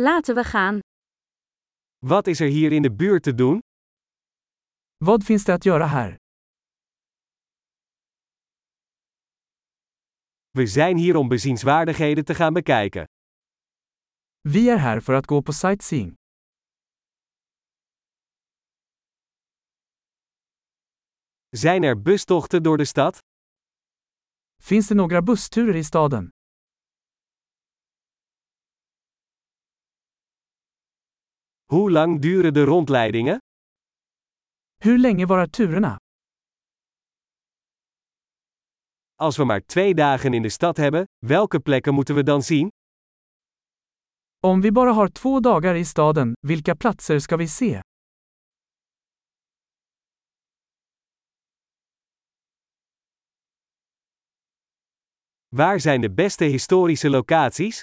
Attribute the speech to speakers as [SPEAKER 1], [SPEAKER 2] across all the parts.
[SPEAKER 1] Laten we gaan.
[SPEAKER 2] Wat is er hier in de buurt te doen?
[SPEAKER 3] Vad finns det att göra här?
[SPEAKER 2] We zijn hier om bezienswaardigheden te gaan bekijken.
[SPEAKER 3] Vi är här för att gå på sightseeing.
[SPEAKER 2] Zijn er bustochten door de stad?
[SPEAKER 3] Finns det några bussturer i staden?
[SPEAKER 2] Hoe lang duren de rondleidingen?
[SPEAKER 3] Hur länge varar turerna?
[SPEAKER 2] Als we maar twee dagen in de stad hebben, welke plekken moeten we dan zien?
[SPEAKER 3] Om vi bara har två dagar i staden, vilka platser ska vi se?
[SPEAKER 2] Waar zijn de beste historische locaties?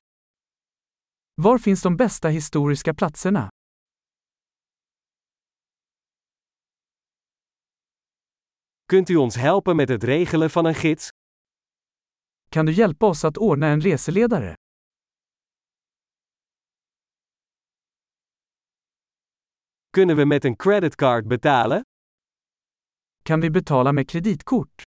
[SPEAKER 3] Var finns de bästa historiska platserna?
[SPEAKER 2] Kunt u ons helpen met het regelen van een gids?
[SPEAKER 3] Kan du hjälpa oss att ordna en reseledare?
[SPEAKER 2] Kunnen we met een creditcard betalen?
[SPEAKER 3] Kan vi betala med kreditkort?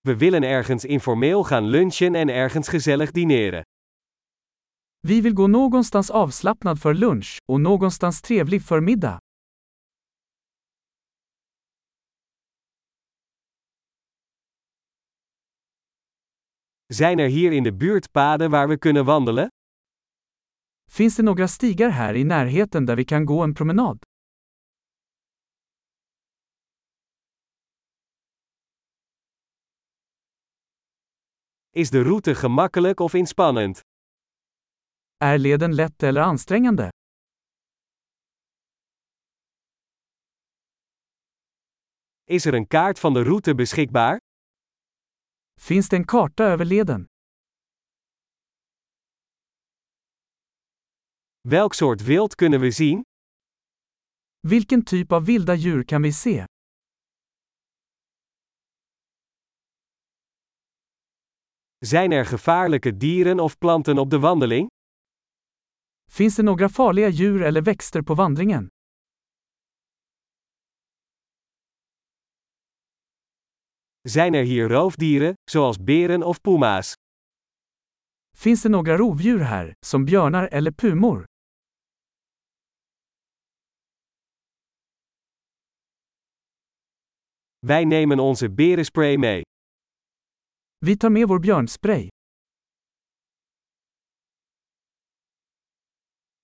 [SPEAKER 2] We willen ergens informeel gaan lunchen en ergens gezellig dineren.
[SPEAKER 3] Vi vill gå någonstans avslappnad för lunch och någonstans trevlig för middag.
[SPEAKER 2] Zijn er hier in de buurt paden waar we kunnen wandelen?
[SPEAKER 3] Finns det några stigar här i närheten där vi kan gå en promenad?
[SPEAKER 2] Is de route gemakkelijk of inspannend?
[SPEAKER 3] Är leden lätt eller ansträngande?
[SPEAKER 2] Is er een kaart van de route beschikbaar?
[SPEAKER 3] Finns det en karta över leden?
[SPEAKER 2] Welk soort wild kunnen we zien?
[SPEAKER 3] Vilken typ av vilda djur kan vi se?
[SPEAKER 2] Zijn er gevaarlijke dieren of planten op de wandeling?
[SPEAKER 3] Finns det några farliga djur eller växter på vandringen?
[SPEAKER 2] Zijn er hier roofdieren, zoals beren of puma's?
[SPEAKER 3] Finns det några rovdjur här, som björnar eller pumor?
[SPEAKER 2] Wij nemen onze berenspray mee.
[SPEAKER 3] Vi tar med vår björnspray.